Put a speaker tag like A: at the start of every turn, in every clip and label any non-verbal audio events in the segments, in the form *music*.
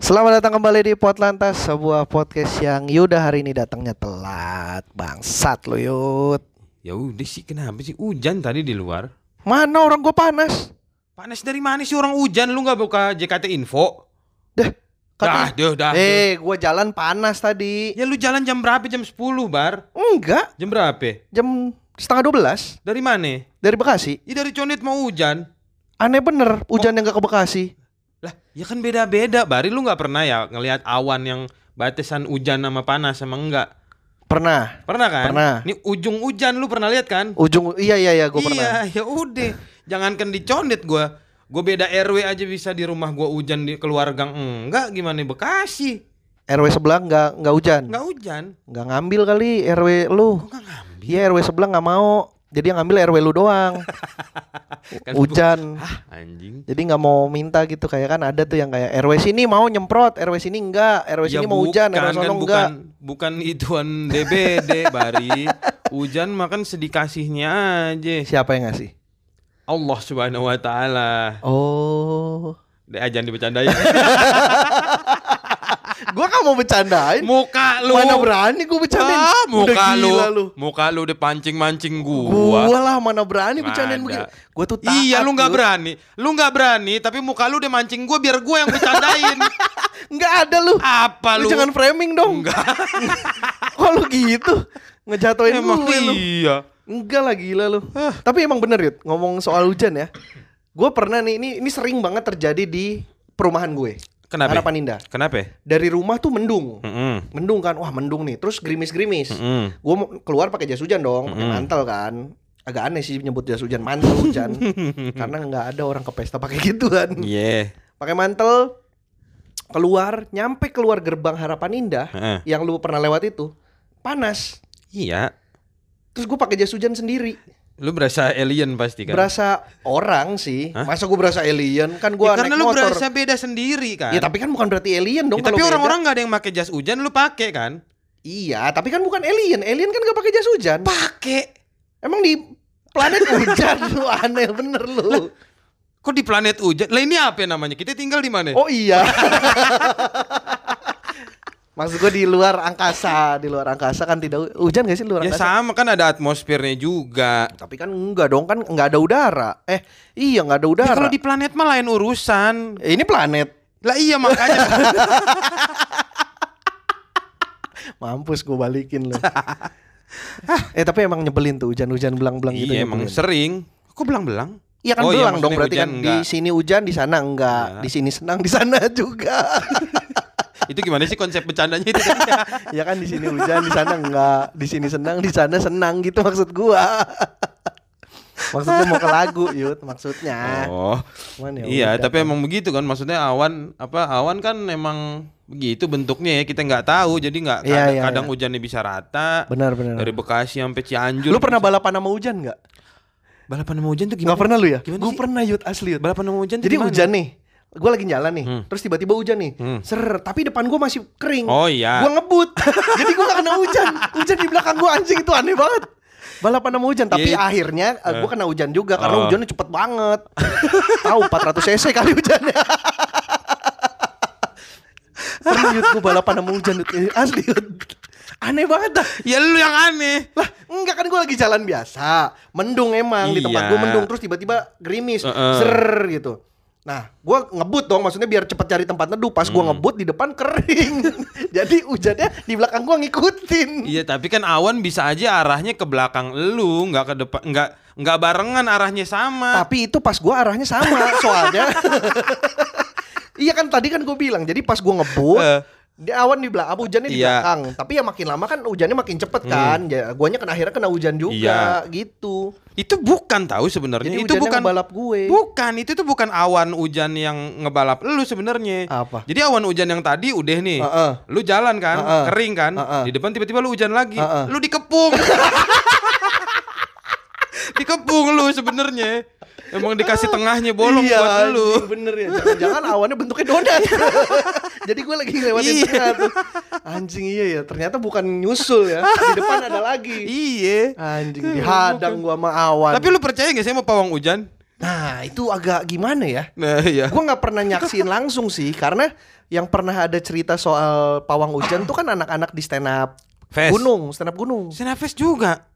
A: Selamat datang kembali di Potlantas, sebuah podcast yang Yuda hari ini datangnya telat. Bangsat lo Yud.
B: Ya udah sih kenapa sih hujan tadi di luar?
A: Mana orang gue panas?
B: Panas dari mana sih orang hujan lu nggak buka JKT Info?
A: Dah,
B: Dah,
A: katanya-
B: dah, dah. dah.
A: Eh, gue jalan panas tadi.
B: Ya lu jalan jam berapa? Jam 10, Bar.
A: Enggak,
B: Jam berapa?
A: jam setengah 12
B: Dari mana?
A: dari Bekasi.
B: Ya dari Condet mau hujan.
A: Aneh bener, hujan yang gak ke Bekasi.
B: Lah, ya kan beda-beda, Bari. Lu nggak pernah ya ngelihat awan yang batasan hujan sama panas sama enggak?
A: Pernah,
B: Pernah kan?
A: Pernah.
B: Ini ujung hujan lu pernah lihat kan?
A: ujung, iya iya iya gue
B: iya,
A: pernah.
B: ya udah. Jangankan di Condet gua, gua beda RW aja bisa di rumah gua hujan di keluar gang enggak gimana Bekasi?
A: RW sebelah nggak nggak hujan,
B: Enggak hujan.
A: nggak ngambil kali RW lu.
B: Kok nggak ngambil?
A: Iya RW sebelah nggak mau, jadi yang ngambil RW lu doang.
B: *laughs* Kan
A: hujan.
B: Ah, anjing.
A: Jadi nggak mau minta gitu kayak kan ada tuh yang kayak RW sini mau nyemprot, RW sini enggak, RW sini mau hujan, RW
B: bukan,
A: sono
B: kan
A: enggak.
B: bukan bukan ituan DBD Bari. Hujan makan sedikasihnya aja.
A: Siapa yang ngasih?
B: Allah Subhanahu wa taala.
A: Oh.
B: Deh jangan dibecandain.
A: *laughs* gua nggak mau bercandain.
B: muka lu.
A: Mana berani gua bercandain?
B: Ah,
A: Udah
B: muka lu.
A: gila
B: Muka lu udah pancing-mancing
A: Gua,
B: gua.
A: lah mana berani
B: Nggak
A: bercandain
B: ada.
A: begini. Gua tuh taat.
B: Iya lu nggak
A: Yud.
B: berani Lu nggak berani Tapi muka lu udah mancing gua Biar gua yang
A: *laughs*
B: bercandain
A: Nggak ada lu.
B: Apa
A: Lu
B: Ah, lu
A: jangan framing dong.
B: Enggak
A: *laughs* Kok lu gitu? Ngejatuhin
B: Emang
A: gue ya, lu.
B: iya
A: Enggak lah gila lu. Tapi emang bener Yud, ngomong soal hujan ya. Gua pernah nih ini ini sering banget terjadi di perumahan gue.
B: Kenapa?
A: Harapan Indah.
B: Kenapa
A: Dari rumah tuh mendung.
B: Mm-mm.
A: Mendung kan. Wah, mendung nih. Terus gerimis-gerimis. *laughs*
B: Mm-mm.
A: Gue mau keluar pakai jas hujan dong, pakai mantel kan. Agak aneh sih nyebut jas hujan mantel hujan. Karena nggak ada orang ke pesta pakai gituan.
B: Iya
A: Pakai mantel keluar, nyampe keluar gerbang Harapan Indah
B: Heeh.
A: yang lu pernah lewat itu. Panas.
B: Iya
A: Terus gue pakai jas hujan sendiri.
B: Lu berasa alien pasti kan?
A: Berasa orang sih.
B: Hah?
A: Masa gue berasa alien? Kan gue
B: Ya,
A: naik
B: karena lu
A: motor.
B: berasa beda sendiri kan.
A: Ya tapi kan bukan berarti alien dong
B: Ya,
A: kalau
B: tapi
A: beda.
B: orang-orang nggak ada yang pakai jas hujan, lu pakai kan?
A: Iya, tapi kan bukan alien. Alien kan gak pakai jas hujan.
B: Pakai.
A: Emang di
B: *laughs*
A: planet hujan lu aneh bener lu.
B: Kok di planet hujan? Lah ini apa namanya? Kita tinggal di mana?
A: Oh iya. *laughs* Maksud gue di luar angkasa, di luar angkasa kan tidak hujan gak sih di luar
B: ya
A: angkasa?
B: sama kan ada atmosfernya juga.
A: Tapi kan enggak dong kan enggak ada udara. Eh, iya enggak ada udara.
B: Ya, kalau di planet mah lain urusan.
A: Eh, ini planet.
B: Lah iya makanya.
A: Mampus gue balikin lu. *laughs* eh tapi emang nyebelin tuh hujan-hujan belang-belang *laughs* gitu.
B: iya emang
A: nyebelin.
B: sering. Kok belang-belang?
A: Iya kan
B: Oh, iya,
A: belang dong
B: maksudnya
A: berarti
B: hujan
A: kan
B: enggak.
A: di sini hujan di sana enggak,
B: Iya.
A: di sini senang di sana *laughs* juga.
B: itu gimana sih konsep bercandanya
A: *laughs*
B: itu? tadi?
A: ya kan di sini hujan di sana enggak di sini senang di sana senang gitu maksud gua *laughs* maksudnya mau ke lagu yud maksudnya
B: oh.
A: Cuman ya
B: Iya,
A: udah.
B: tapi emang begitu kan maksudnya awan apa awan kan emang begitu bentuknya ya kita nggak tahu jadi nggak
A: Iya,
B: kadang,
A: iya,
B: kadang
A: iya.
B: hujannya bisa rata
A: benar benar
B: dari Bekasi sampai Cianjur.
A: lu pernah balapan sama hujan nggak
B: balapan sama hujan tuh gimana?
A: nggak pernah lu ya
B: Gimana
A: gua
B: sih?
A: pernah yud asli yud
B: Balapan sama hujan tuh
A: jadi
B: gimana?
A: hujan nih gua lagi jalan nih
B: Hmm.
A: terus tiba-tiba hujan nih
B: Hmm.
A: ser tapi depan gua masih kering
B: Oh iya.
A: gua ngebut *laughs* jadi gua gak kena hujan hujan di belakang gua anjing itu aneh banget balapan sama hujan tapi
B: Iya, iya.
A: akhirnya eh, gua kena hujan juga karena
B: Oh.
A: hujannya cepet banget *laughs* tahu 400 cc kali hujannya *laughs* Serius gua balapan sama hujan Yud. Eh, asli Yud. aneh banget dah
B: Ya lu yang aneh.
A: lah enggak kan gua lagi jalan biasa mendung emang di tempat
B: Iya.
A: gua mendung terus tiba-tiba gerimis
B: Heeh.
A: ser gitu nah gua ngebut dong maksudnya biar cepet cari tempat neduh pas
B: Hmm.
A: gua ngebut di depan kering *laughs* jadi hujannya di belakang gua ngikutin
B: Iya, tapi kan awan bisa aja arahnya ke belakang lu, nggak ke depan, nggak nggak barengan arahnya sama.
A: tapi itu pas gua arahnya sama
B: *laughs*
A: soalnya iya kan tadi kan gua bilang jadi pas gua ngebut
B: Eh.
A: Di awan di belakang, hujannya di
B: Iya. Hmm.
A: belakang. Tapi ya makin lama kan hujannya makin cepet kan. Ya, guanya kan akhirnya kena hujan juga gitu.
B: Itu bukan tahu sebenarnya.
A: Jadi
B: Iya. Itu
A: hujannya
B: bukan
A: ngebalap gue.
B: Bukan, itu tuh bukan awan hujan yang ngebalap lu sebenarnya.
A: Apa?
B: Jadi awan hujan yang tadi udah nih.
A: Heeh.
B: Lu jalan kan,
A: Heeh.
B: kering kan.
A: Heeh.
B: Di depan tiba-tiba lu hujan lagi.
A: Heeh.
B: Lu dikepung. *laughs* dikepung lu sebenarnya. Emang dikasih tengahnya bolong
A: Iya,
B: buat lu.
A: anjing, Bener ya.
B: *laughs*
A: Jangan-jangan awannya bentuknya donat. Jadi gue lagi ngelewatin
B: Iya.
A: tengah tuh. Anjing iya ya. Ternyata bukan nyusul ya. Di depan ada lagi.
B: Iya.
A: Anjing dihadang gua sama awan.
B: Tapi lu percaya gak sih sama pawang hujan?
A: Nah itu agak gimana ya
B: Nah, iya.
A: Gue nggak pernah
B: *laughs*
A: nyaksiin langsung sih Karena yang pernah ada cerita soal pawang hujan tuh kan anak-anak di stand up
B: Fest.
A: Gunung, stand up gunung
B: Senafest juga.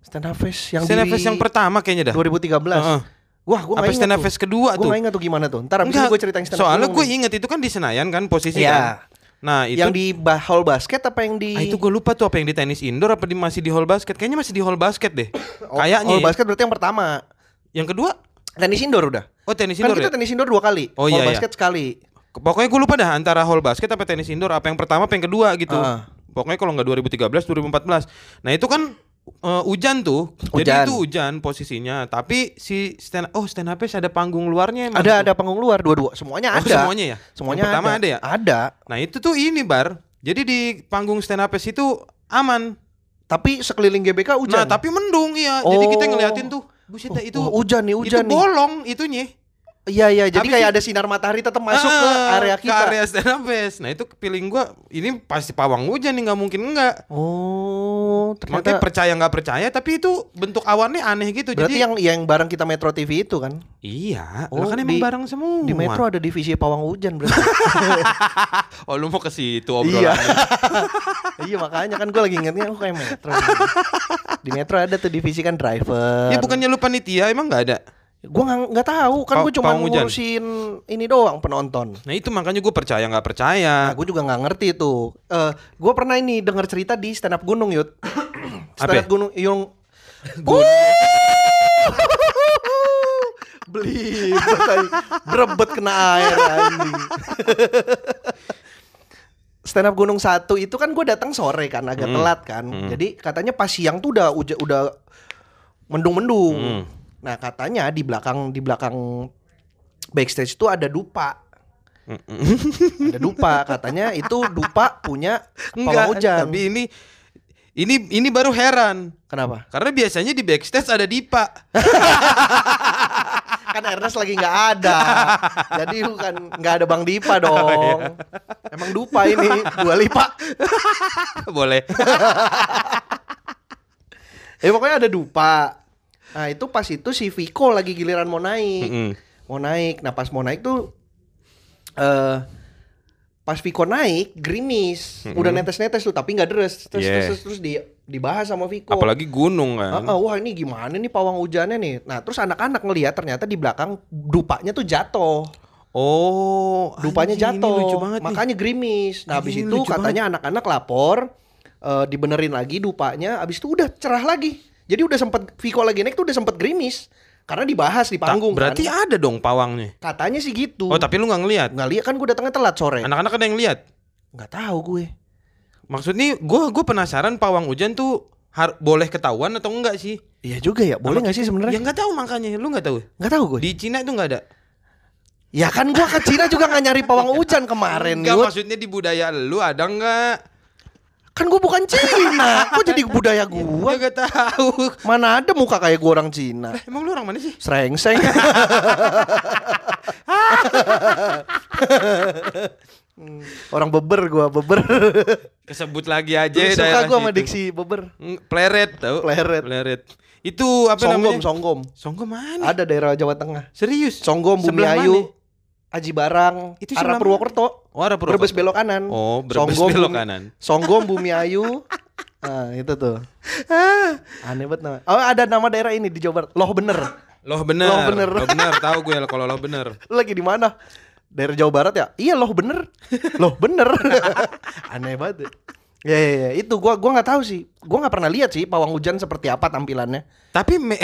A: Stand up fest yang
B: Senafest
A: di
B: yang pertama kayaknya dah.
A: 2013
B: Heeh.
A: Wah gue
B: Apa
A: gak
B: stand
A: ingat
B: up
A: tuh
B: fest kedua
A: Gue
B: tuh?
A: gak ingat tuh gimana tuh Ntar abis
B: Enggak,
A: ini gue ceritain stand up
B: Soalnya gue
A: gunung nih.
B: ingat itu kan di Senayan kan posisi
A: Iya.
B: kan. Nah, itu
A: Yang di ba- hall basket apa yang di
B: Ah, itu gue lupa tuh apa yang di tenis indoor apa di masih di hall basket. Kayaknya masih di hall basket deh.
A: *clears throat* Oh,
B: Kayaknya.
A: Hall
B: ya.
A: basket berarti yang pertama
B: Yang kedua?
A: Tenis indoor udah
B: Oh, tenis
A: Kan
B: indoor.
A: kita
B: ya?
A: tenis indoor dua kali
B: Oh,
A: Hall
B: iya, iya.
A: basket sekali
B: Pokoknya gue lupa dah antara hall basket apa tenis indoor apa yang pertama apa yang kedua gitu.
A: Ah.
B: Pokoknya kalau nggak 2013 2014. Nah, itu kan eh, hujan tuh. Jadi
A: Hujan.
B: itu hujan posisinya, tapi si stand oh stand up ada panggung luarnya emang
A: Ada
B: tuh.
A: ada panggung luar dua-dua semuanya
B: Hmm. Oh,
A: ada.
B: semuanya ya?
A: Semuanya
B: Yang pertama ada ya?
A: Ada.
B: Nah, itu tuh ini bar. Jadi di panggung stand up itu aman.
A: Tapi sekeliling GBK hujan.
B: Nah, tapi mendung iya. Jadi kita
A: Oh.
B: ngeliatin tuh. Buset dah,
A: Oh,
B: itu
A: oh, hujan nih, hujan
B: itu
A: nih.
B: bolong itunya.
A: Iya iya, jadi
B: Habis
A: kayak
B: itu-
A: ada sinar matahari tetap masuk ke
B: Ah,
A: area kita.
B: Ke area stand up fest. Nah, itu feeling gua ini pasti pawang hujan nih nggak mungkin enggak.
A: Oh,
B: Makanya
A: ternyata
B: percaya nggak percaya tapi itu bentuk awannya aneh gitu.
A: berarti
B: Jadi
A: yang yang bareng kita Metro TV itu kan.
B: iya,
A: Oh,
B: lo kan emang
A: di-
B: bareng semua.
A: Di Metro ada divisi pawang hujan berarti.
B: *laughs* Oh, lu mau ke situ
A: iya.
B: *laughs* obrolan.
A: iya makanya kan gue lagi ingetnya oh kayak Metro. Di Metro ada tuh divisi kan driver.
B: Ya bukannya lu panitia emang nggak ada.
A: Gue nggak nggak tahu kan
B: Pa-
A: gue cuma
B: pawang hujan.
A: ngurusin ini doang penonton.
B: Nah, itu makanya gue percaya nggak percaya.
A: Nah, gue juga nggak ngerti itu. Eh, gue pernah ini dengar cerita di stand up gunung yud. stand
B: Apa?
A: up gunung yung. Beli berebet kena air anjing. Stand up Gunung Satu itu kan gue datang sore kan agak
B: Hmm.
A: telat kan, jadi katanya pas siang tuh udah uja- udah mendung-mendung.
B: Hmm.
A: Nah katanya di belakang di belakang backstage itu ada dupa.
B: Hmm.
A: ada dupa katanya itu dupa punya pawang hujan
B: eh, tapi ini ini ini baru heran.
A: kenapa
B: Karena biasanya di backstage ada Dipa. *laughs*
A: kan Ernest lagi nggak ada jadi bukan nggak ada Bang Dipa
B: Oh,
A: dong
B: iya.
A: emang dupa ini dua lipa *laughs*
B: Boleh.
A: eh pokoknya ada dupa nah itu pas itu si Viko lagi giliran mau naik
B: Mm-mm.
A: mau naik nah pas mau naik tuh eh pas Viko naik gerimis udah netes-netes tuh tapi nggak deres terus,
B: Yeah.
A: terus terus di dibahas sama Viko
B: Apalagi gunung kan.
A: Ah, ah, wah ini gimana nih pawang hujannya nih. Nah terus anak-anak ngelihat ternyata di belakang dupanya tuh jatuh,
B: Oh,
A: dupanya
B: anjing, ini
A: jatuh,
B: Lucu banget nih.
A: makanya gerimis. Nah habis
B: Anjing, ini
A: itu
B: lucu
A: katanya anak-anak lapor, eh, dibenerin lagi dupanya, habis itu udah cerah lagi. Jadi udah sempet Viko lagi naik tuh udah sempet gerimis karena dibahas di
B: Ta-
A: panggung.
B: Berarti
A: kan.
B: ada dong pawangnya.
A: katanya sih gitu.
B: Oh, tapi lu nggak ngelihat.
A: nggak lihat kan gue datangnya telat sore.
B: Anak-anak ada yang lihat.
A: Nggak tahu gue.
B: Maksudnya gua gua penasaran pawang hujan tuh har- boleh ketahuan atau enggak sih?
A: Iya juga ya, boleh nggak sih
B: Ya
A: sebenarnya?
B: nggak tahu makanya, lu nggak tahu.
A: Nggak tahu gue.
B: Di Cina itu nggak ada.
A: Ya kan gue ke Cina juga nggak nyari
B: Iya.
A: pawang hujan kemarin.
B: Enggak
A: Yud.
B: maksudnya di budaya lu ada nggak?
A: Kan gue bukan Cina, kok jadi budaya
B: Gua
A: gue?
B: nggak tahu. *laughs*
A: Mana ada muka kayak gue orang Cina?
B: Lah, emang lu orang mana sih? *laughs*
A: Srengseng. Hmm, orang beber gue, beber.
B: Kesebut lagi aja
A: Suka
B: Iya, daerah
A: gue sama
B: situ.
A: diksi beber.
B: Mm, Pleret tau
A: Pleret.
B: Itu apa
A: Songgom,
B: namanya?
A: songgom.
B: Songgom mana?
A: Ada daerah Jawa Tengah.
B: Serius?
A: Songgom, Bumi
B: Sebelah
A: Ayu,
B: mana?
A: Aji Barang,
B: Itu
A: arah
B: sebelah mana?
A: Purwokerto.
B: Oh, arah Purwokerto.
A: Brebes belok kanan.
B: Oh, Brebes belok
A: Bumi-
B: kanan. *laughs*
A: Songgom, Bumi Ayu. Nah, itu tuh. Aneh banget nama. Oh, ada nama daerah ini di Jawa Barat. Loh bener.
B: Loh bener
A: Loh bener.
B: Loh bener Tahu gue kalau loh bener
A: Lu lagi di mana? Daerah Jawa Barat ya? Iya loh bener Loh bener Aneh banget ya. Ya, ya, ya. itu gua gua nggak tahu sih. Gua nggak pernah lihat sih pawang hujan seperti apa tampilannya.
B: Tapi me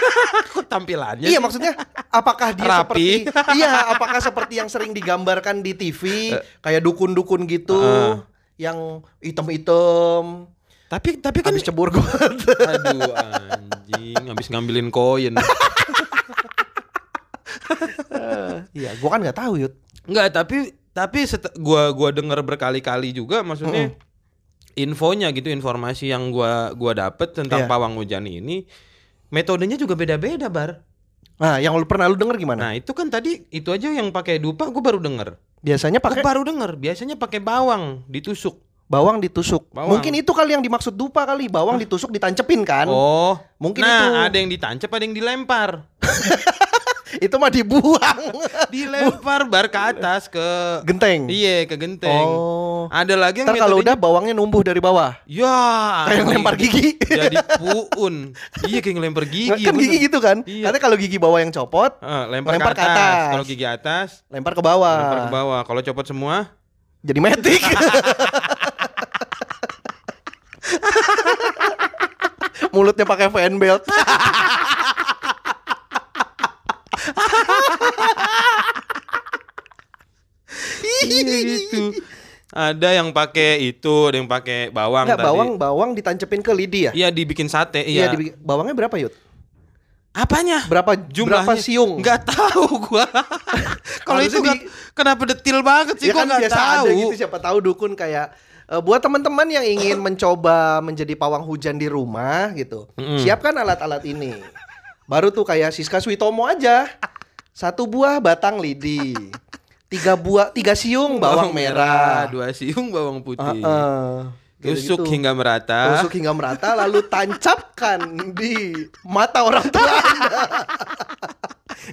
B: *laughs* Kok tampilannya
A: iya,
B: sih?
A: maksudnya apakah dia
B: Rapi.
A: seperti *laughs* Iya, apakah seperti yang sering digambarkan di TV
B: Eh.
A: kayak dukun-dukun gitu
B: Heeh.
A: yang hitam-hitam
B: Tapi tapi kan
A: habis cebur gua.
B: Aduh anjing Habis ngambilin koin
A: Iya, gua kan nggak tahu, Yud.
B: Enggak tapi Tapi set- gua gua denger berkali-kali juga Maksudnya Infonya gitu Informasi yang gua gua dapet Tentang
A: Iya.
B: pawang hujan ini Metodenya juga beda-beda Bar
A: Nah, yang lu pernah lu denger gimana?
B: Nah itu kan tadi Itu aja yang pakai dupa Gue baru denger
A: Biasanya
B: Gue
A: pakai
B: baru denger Biasanya pakai bawang Ditusuk
A: bawang ditusuk.
B: Bawang.
A: Mungkin itu kali yang dimaksud dupa kali, bawang ditusuk ditancepin kan.
B: Oh,
A: Mungkin
B: nah
A: itu.
B: ada yang ditancap, ada yang dilempar.
A: itu mah dibuang.
B: Dilempar bar ke atas ke
A: Genteng.
B: Iya, ke genteng.
A: Oh.
B: Ada lagi yang
A: Ntar
B: gitu
A: kalau udah
B: metodenya-
A: bawangnya numbuh dari bawah.
B: ya
A: Kayak
B: anjing.
A: lempar gigi.
B: Jadi puun. iya kayak ngelempar gigi.
A: kan gigi
B: bener.
A: gitu kan.
B: Iya.
A: Katanya kalau gigi bawah yang copot,
B: Ah, lempar,
A: Lempar
B: ke
A: ke
B: atas.
A: atas.
B: Kalau gigi atas,
A: lempar ke bawah.
B: lempar ke bawah. Kalau copot semua,
A: Jadi metik. Mulutnya pakai fan belt.
B: iya gitu. Ada yang pakai itu, ada yang pakai bawang
A: Enggak
B: tadi.
A: bawang bawang ditancepin ke lidi ya.
B: Iya dibikin sate,
A: Iya,
B: iya.
A: dibikin- bawangnya berapa, Yud?
B: Apanya?
A: Berapa
B: Jumlahnya?
A: berapa siung?
B: Nggak tahu
A: *laughs*
B: gua. Kalau itu
A: Harusnya
B: nggak-
A: di-
B: kenapa detil banget sih
A: ya
B: gua
A: kan
B: nggak
A: biasa
B: tahu.
A: ada gitu siapa tahu dukun kayak eh, buat teman-teman yang ingin mencoba menjadi pawang hujan di rumah gitu.
B: Mm-mm.
A: Siapkan alat-alat ini. Baru tuh kayak Siska Suitomo aja. Satu buah batang lidi. Tiga buah tiga siung bawang, merah.
B: dua siung bawang putih.
A: Heeh. gitu. Gitu-gitu.
B: Tusuk hingga merata.
A: Tusuk hingga merata lalu tancapkan di mata orang tua Anda.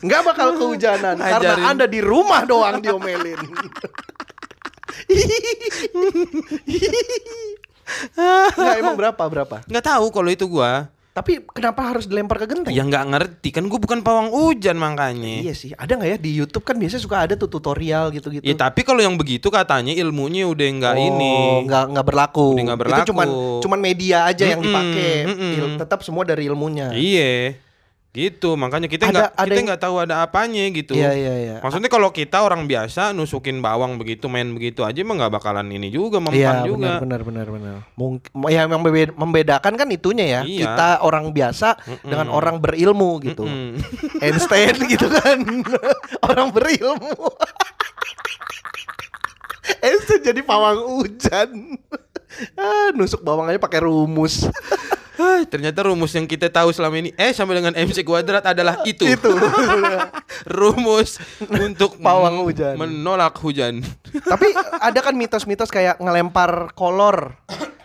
A: Nggak bakal kehujanan karena
B: Ajarin.
A: Anda di rumah doang diomelin. Nggak emang berapa berapa?
B: Nggak tahu kalau itu gua.
A: Tapi kenapa harus dilempar ke genteng?
B: Ya nggak ngerti kan gua bukan pawang hujan makanya.
A: Iya sih, ada nggak ya di YouTube kan biasanya suka ada tuh tutorial gitu-gitu.
B: Ya tapi kalau yang begitu katanya ilmunya udah nggak
A: Oh,
B: ini.
A: nggak nggak berlaku.
B: Udah nggak
A: Itu cuman
B: berlaku.
A: cuman media aja yang
B: Mm-mm,
A: dipakai.
B: mm-mm.
A: Il- tetap semua dari ilmunya.
B: Iya. Gitu, makanya kita
A: Ada-
B: nggak
A: ada
B: kita
A: yang-
B: nggak tahu ada apanya gitu.
A: Iya iya iya.
B: Maksudnya kalau kita orang biasa nusukin bawang begitu main begitu aja emang nggak bakalan ini juga mempan
A: Iya, benar
B: juga.
A: benar benar benar. Mungkin ya yang membe- membedakan kan itunya ya.
B: Iya.
A: Kita orang biasa dengan orang berilmu gitu.
B: Mm.
A: *laughs* Einstein gitu kan. *laughs* orang berilmu. *laughs* Einstein jadi pawang hujan. *laughs* ah, nusuk bawang aja pakai rumus. *laughs*
B: Hai, ternyata rumus yang kita tahu selama ini eh sama dengan MC kuadrat
A: *laughs*
B: adalah itu.
A: Itu. *laughs*
B: rumus untuk
A: Pawang
B: men-
A: hujan.
B: Menolak hujan.
A: Tapi ada kan mitos-mitos kayak ngelempar kolor.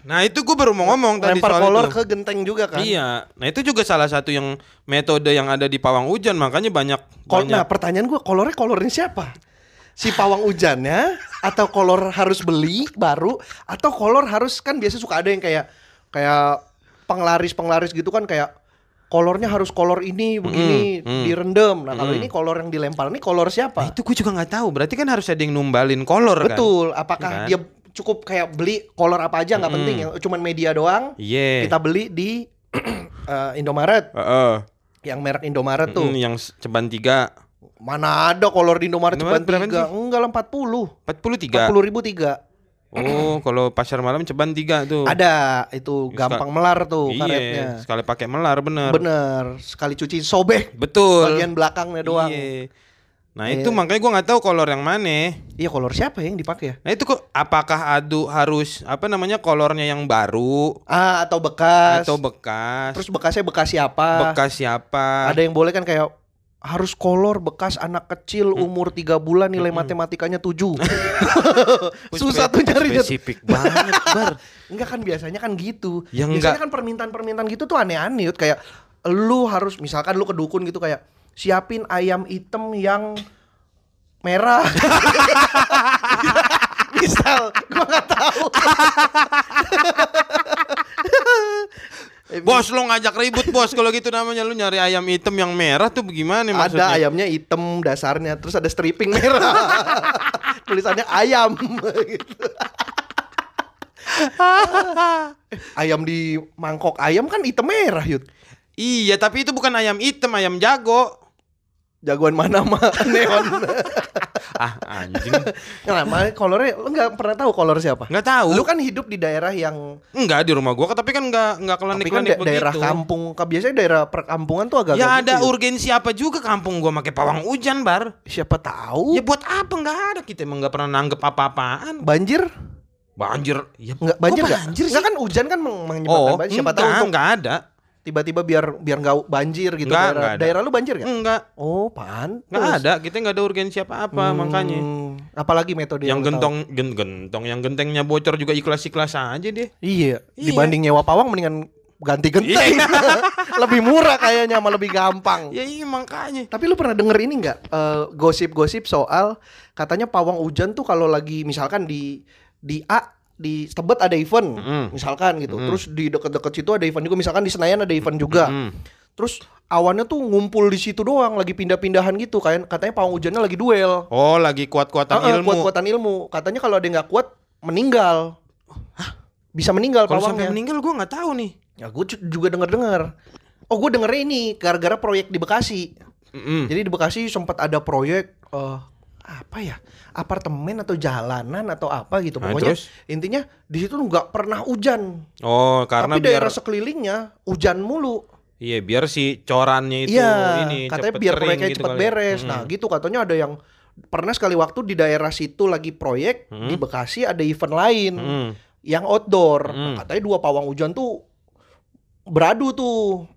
B: Nah, itu gue baru mau ngomong tadi
A: Lempar
B: soal
A: kolor
B: itu.
A: ke genteng juga kan.
B: Iya. Nah, itu juga salah satu yang metode yang ada di pawang hujan makanya banyak
A: Kol nah
B: banyak
A: pertanyaan gue kolornya kolornya siapa? Si pawang hujannya atau kolor harus beli baru atau kolor harus kan biasa suka ada yang kayak kayak penglaris penglaris gitu kan kayak kolornya harus kolor ini begini
B: Mm, mm.
A: direndam. Nah kalau
B: Mm.
A: ini kolor yang dilempar ini kolor
B: Nah,
A: siapa?
B: itu gue juga nggak tahu. Berarti kan harus ada yang numbalin kolor kan?
A: Betul. Apakah dia
B: Iya kan?
A: cukup kayak beli kolor apa aja nggak
B: Mm-mm.
A: penting ya? Cuman media doang.
B: Iya.
A: Kita beli di *clears throat* eh, Indomaret
B: Heeh.
A: yang merek Indomaret
B: Mm,
A: tuh.
B: yang s- ceban 3
A: Mana ada kolor di Indomaret
B: Indomaret
A: cuma
B: berapa
A: tiga? Enggak lah 40.
B: 43.
A: 40 ribu tiga
B: Oh, kalau pasar malam ceban 3 tuh.
A: ada itu
B: Suka-
A: gampang melar tuh karetnya
B: Iya, sekali pakai melar bener.
A: bener sekali cuci sobek
B: Betul.
A: bagian belakangnya doang
B: Iya. Nah,
A: Iya.
B: itu makanya gua nggak tahu kolor yang mana.
A: iya kolor siapa yang dipakai ya
B: Nah, itu kok apakah adu harus apa namanya kolornya yang baru
A: ah atau bekas
B: atau bekas?
A: terus bekasnya bekas siapa
B: bekas siapa?
A: ada yang boleh kan kayak harus kolor bekas anak kecil
B: Hmm.
A: umur 3 bulan nilai matematikanya
B: *laughs*
A: 7 susah tuh nyarinya
B: spesifik banget, Bar.
A: Enggak kan biasanya kan gitu.
B: Ya
A: biasanya
B: enggak.
A: kan permintaan-permintaan gitu tuh aneh-aneh Yud. kayak lu harus misalkan lu ke dukun gitu kayak siapin ayam item yang
B: *laughs*
A: merah. Misal, gua nggak tahu.
B: *laughs* Bos lo ngajak ribut bos kalau gitu namanya lu nyari ayam hitam yang merah tuh gimana
A: ada
B: maksudnya?
A: ayamnya item dasarnya, terus ada stripping
B: *laughs*
A: merah. Tulisannya ayam gitu. Eh, ayam di mangkok ayam kan item merah, Yud.
B: Iya tapi itu bukan ayam hitam ayam jago.
A: Jagoan mana mah *laughs* neon.
B: Ah anjing
A: Nah, makanya kolornya lu nggak pernah tahu kolor siapa.
B: nggak tahu.
A: Lu kan hidup di daerah yang
B: Enggak di rumah gua tapi kan enggak enggak
A: tapi kan
B: kelenik-kelenik
A: da- daerah kampung. Ka- Biasanya daerah perkampungan tuh agak
B: Ya ada
A: gitu, Yud.
B: urgensi apa juga kampung gua pakai pawang hujan bar?
A: siapa tahu.
B: Ya buat apa nggak ada kita emang nggak pernah nanggep apa-apaan.
A: Banjir?
B: Banjir, ya
A: Nggak banjir nggak?
B: banjir sih?
A: Nggak kan hujan kan meng- menyebabkan
B: oh,
A: banjir.
B: siapa
A: Siapa
B: enggak,
A: tahu untuk
B: enggak ada.
A: tiba-tiba biar biar nggak banjir gitu
B: Nggak,
A: daerah.
B: nggak ada.
A: Daerah lu banjir nggak?
B: Enggak,
A: Oh, pantas.
B: enggak ada. Kita enggak ada urgensi apa-apa
A: Hmm,
B: makanya.
A: Apalagi metode lu
B: Yang
A: tahu?
B: gentong gen- gentong yang gentengnya bocor juga ikhlas-ikhlas aja deh.
A: Iya,
B: Iya.
A: dibanding nyewa pawang mendingan ganti genteng. *laughs* lebih murah kayaknya sama lebih gampang.
B: Ya iya makanya.
A: Tapi lu pernah denger ini nggak eh, gosip-gosip soal katanya pawang hujan tuh kalau lagi misalkan di di A di Tebet ada event
B: Mm-mm.
A: misalkan gitu.
B: Mm-mm.
A: Terus di deket-deket situ ada event juga misalkan di Senayan ada event juga.
B: Mm.
A: Terus awannya tuh ngumpul di situ doang lagi pindah-pindahan gitu kan. Katanya pawang hujannya lagi duel.
B: Oh lagi kuat-kuatan
A: Heeh,
B: ilmu.
A: Kuat-kuatan ilmu. Katanya kalau ada yang nggak kuat meninggal. Bisa meninggal
B: Kalau
A: pawangnya.
B: sampai meninggal gua nggak tahu nih.
A: Ya gue juga denger-denger. Oh gue dengernya ini gara-gara proyek di Bekasi.
B: Mm-mm.
A: *laughs* Jadi di Bekasi sempat ada proyek eh apa ya apartemen atau jalanan atau apa gitu
B: Nah,
A: pokoknya
B: terus?
A: intinya di situ nggak pernah hujan
B: Oh karena
A: tapi
B: biar
A: daerah sekelilingnya hujan mulu
B: iya biar si corannya itu
A: iya
B: ini
A: katanya
B: cepet
A: biar
B: kering
A: proyeknya
B: gitu
A: cepat
B: kali.
A: beres
B: Mm-mm.
A: nah gitu katanya ada yang pernah sekali waktu di daerah situ lagi proyek di
B: Hmm.
A: Bekasi ada event lain
B: Mm-mm.
A: yang outdoor
B: Mm.
A: Nah, katanya dua pawang hujan tuh beradu tuh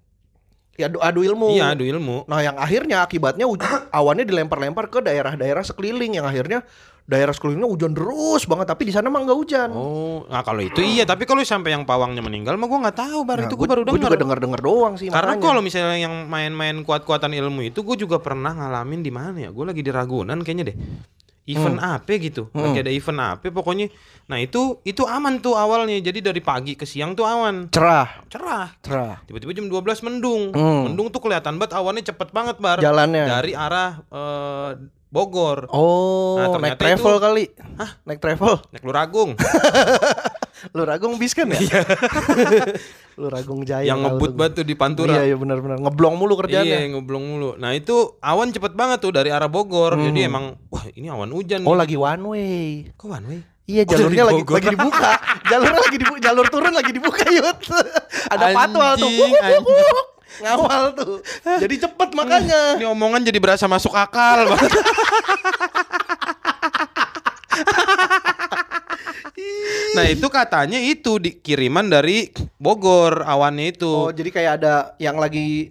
A: ya adu, adu ilmu
B: Iya adu ilmu.
A: Nah, yang akhirnya akibatnya *coughs* huj- awannya dilempar-lempar ke daerah-daerah sekeliling yang akhirnya daerah sekelilingnya hujan terus banget tapi di sana mah nggak hujan.
B: Oh, nah kalau itu iya, tapi kalau sampai yang pawangnya meninggal mah gua nggak tahu, bar
A: Nah,
B: itu gua baru
A: gua juga
B: dengar.
A: dengar-dengar doang sih
B: Karena
A: Iya, makanya.
B: kalau misalnya yang main-main kuat-kuatan ilmu itu gua juga pernah ngalamin di mana ya? Gua lagi di Ragunan kayaknya deh. Event
A: Hmm.
B: apa gitu. Lagi ada event apa pokoknya. Nah, itu itu aman tuh awalnya. Jadi dari pagi ke siang tuh awan.
A: cerah,
B: Cerah.
A: cerah.
B: Tiba-tiba jam 12 mendung.
A: Hmm.
B: Mendung tuh kelihatan banget awannya cepet banget, Bar.
A: Jalannya.
B: Dari arah eh, Bogor.
A: Oh,
B: Nah,
A: naik
B: ternyata
A: travel
B: itu-
A: kali. Naik travel. *laughs*
B: Naik Luragung.
A: Lu ragung bis kan ya? *laughs* Lu ragung jaya.
B: Iya. yang
A: tahu
B: ngebut
A: tuh.
B: banget tuh di Pantura.
A: Iya, iya benar-benar ngeblong mulu kerjaannya.
B: Iya ngeblong mulu. Nah itu awan cepet banget tuh dari arah Bogor. Jadi emang wah ini awan hujan.
A: Hmm. Oh,
B: nih.
A: lagi one way.
B: Kok one way?
A: Iya
B: Oh, dari
A: jalurnya lagi
B: Bogor.
A: lagi dibuka. *laughs* Jalurnya lagi dibuka, jalur turun lagi dibuka yut. *laughs* Ada
B: Anjing,
A: patwal tuh. Wuk, wuk, wuk, wuk. Ngawal tuh. Jadi cepet makanya.
B: Hmm. Ini omongan jadi berasa masuk akal banget. *laughs* nah itu katanya itu dikiriman dari Bogor awannya itu.
A: Oh, jadi kayak ada yang lagi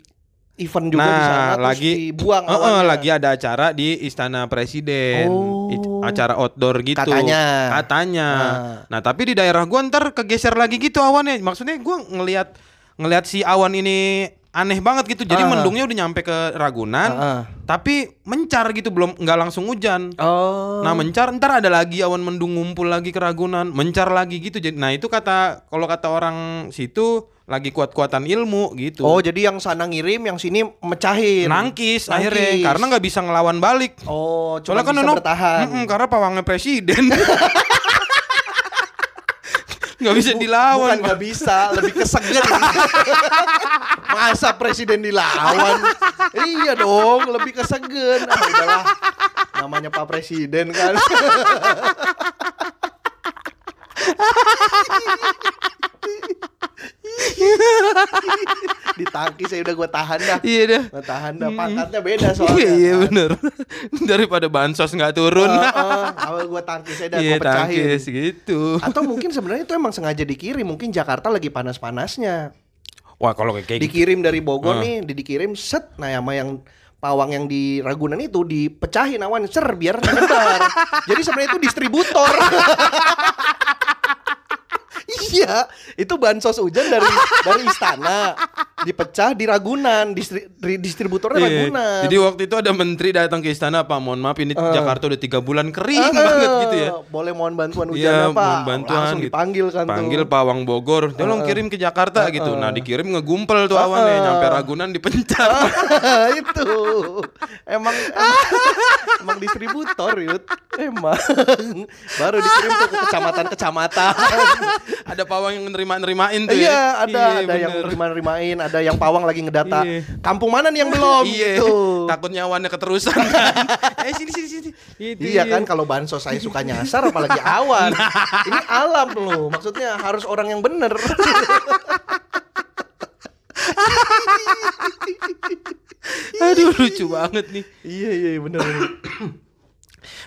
A: event juga di sana
B: nah
A: terus
B: lagi
A: dibuang
B: Heeh,
A: awalnya.
B: lagi ada acara di Istana Presiden,
A: Oh.
B: It- acara outdoor gitu.
A: Katanya.
B: Katanya.
A: Nah.
B: Nah tapi di daerah gua ntar kegeser lagi gitu awannya. Maksudnya gua ngelihat ngelihat si awan ini aneh banget gitu. Jadi
A: Ah.
B: mendungnya udah nyampe ke Ragunan,
A: Heeh.
B: tapi mencar gitu belum nggak langsung hujan.
A: Oh.
B: Nah mencar ntar ada lagi awan mendung ngumpul lagi ke Ragunan, mencar lagi gitu. Jadi nah itu kata kalau kata orang situ lagi kuat-kuatan ilmu gitu.
A: Oh, iya. jadi yang sana ngirim, yang sini mecahin.
B: nangkis, akhirnya karena nggak bisa ngelawan balik.
A: Oh, cuma
B: Soalnya kan
A: bisa
B: Nono
A: bertahan.
B: Mm-mm, karena pawangnya presiden. *laughs* Nggak bisa
A: Bukan
B: dilawan. Pak.
A: nggak bisa, lebih keseger.
B: *laughs*
A: Masa presiden dilawan? iya dong, lebih keseger. Ah, udahlah. Namanya Pak Presiden kan. Ditangkis saya udah gue tahan dah.
B: Iya dah.
A: Gue tahan dah, pangkatnya beda soalnya.
B: *laughs* Iya iya bener Daripada bansos nggak turun. Nah,
A: Awal gue tangkis saya dah,
B: Iya
A: gue pecahin.
B: tangkis gitu.
A: Atau mungkin sebenarnya itu emang sengaja dikirim, mungkin Jakarta lagi panas-panasnya.
B: Wah kalau kayak gitu.
A: dikirim dari Bogor
B: Ah.
A: nih, di- dikirim set nah sama yang pawang yang di Ragunan itu dipecahin awan ser biar
B: *laughs*
A: nyebar. Jadi sebenarnya itu distributor. *laughs* iya, itu bansos hujan dari dari istana dipecah di Ragunan, distri, di- distributornya
B: Iya.
A: Ragunan.
B: Jadi waktu itu ada menteri datang ke istana Pak mohon maaf ini Jakarta udah tiga bulan kering
A: Ah,
B: banget gitu ya.
A: Boleh mohon bantuan hujan
B: Iya,
A: apa?
B: mohon bantuan.
A: Langsung
B: gitu.
A: dipanggil kan tuh. Ah.
B: Panggil pawang Bogor, tolong kirim ke Jakarta gitu. Nah, dikirim ngegumpel tuh awannya, nyampe Ragunan
A: Ah.
B: dipencar.
A: *laughs* itu emang emang distributor yut emang baru dikirim tuh ke kecamatan kecamatan
B: *laughs* ada pawang yang nerima-nerimain tuh
A: *laughs*
B: ya.
A: iya ada ada yang
B: bener.
A: nerima nerimain ada yang pawang lagi ngedata
B: Iya.
A: kampung mana nih yang belum
B: Iya,
A: gitu
B: takut nyawannya keterusan kan.
A: *laughs*
B: eh sini sini sini. Gitu,
A: Iya kan kalau bansos saya suka nyasar apalagi awan. *laughs* Ini alam loh. Maksudnya harus orang yang bener.
B: Aduh lucu banget nih.
A: *laughs* iya iya bener.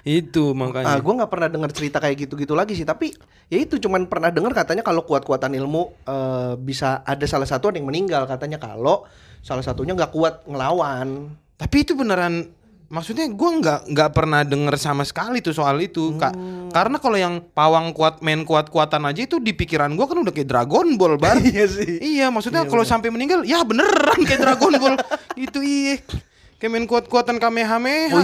B: Itu
A: Ah,
B: makanya.
A: gue nggak pernah dengar cerita kayak gitu-gitu lagi sih. Tapi ya itu cuman pernah dengar katanya kalau kuat-kuatan ilmu eh, bisa ada salah satu ada yang meninggal katanya kalau salah satunya nggak kuat ngelawan.
B: Tapi itu beneran maksudnya gua nggak nggak pernah denger sama sekali tuh soal itu Kak.
A: Oh.
B: karena kalau yang pawang kuat main kuat kuatan aja itu di pikiran gua kan udah kayak Dragon
A: *laughs*
B: Ball bar
A: Iya sih.
B: *laughs* iya maksudnya kalau sampai meninggal ya beneran kayak Dragon Ball
A: *laughs*
B: gitu iya kayak main kuat kuatan kamehameha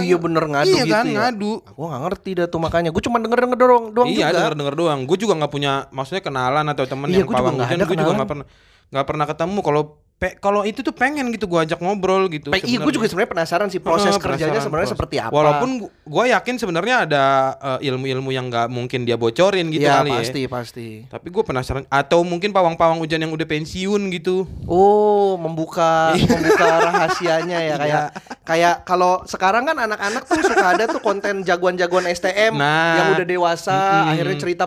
A: Oh iya bener ngadu
B: iya
A: gitu
B: kan
A: ya.
B: ngadu
A: Gue gak ngerti dah tuh makanya. Gue cuma denger denger doang, doang
B: iya
A: juga.
B: denger denger doang gue juga nggak punya maksudnya kenalan atau temen
A: Iya,
B: yang
A: gua juga
B: pawang
A: nggak
B: hujan
A: ada
B: gue juga
A: kenalan.
B: nggak pernah nggak pernah ketemu kalau pe- kalau itu tuh pengen gitu gue ajak ngobrol gitu
A: Pe- Iya, gue
B: sebenarnya.
A: juga sebenarnya penasaran sih proses
B: Heeh,
A: kerjanya
B: penasaran,
A: sebenarnya
B: proses.
A: seperti apa.
B: walaupun gue yakin sebenarnya ada eh, ilmu-ilmu yang nggak mungkin dia bocorin gitu
A: ya,
B: kali
A: pasti
B: ya
A: pasti.
B: tapi gue penasaran atau mungkin pawang-pawang hujan yang udah pensiun gitu
A: Oh, membuka
B: Iya.
A: membuka rahasianya ya kayak kayak kalau sekarang kan anak-anak tuh suka ada tuh konten jagoan-jagoan STM
B: Nah.
A: yang udah dewasa,
B: Mm-mm.
A: akhirnya cerita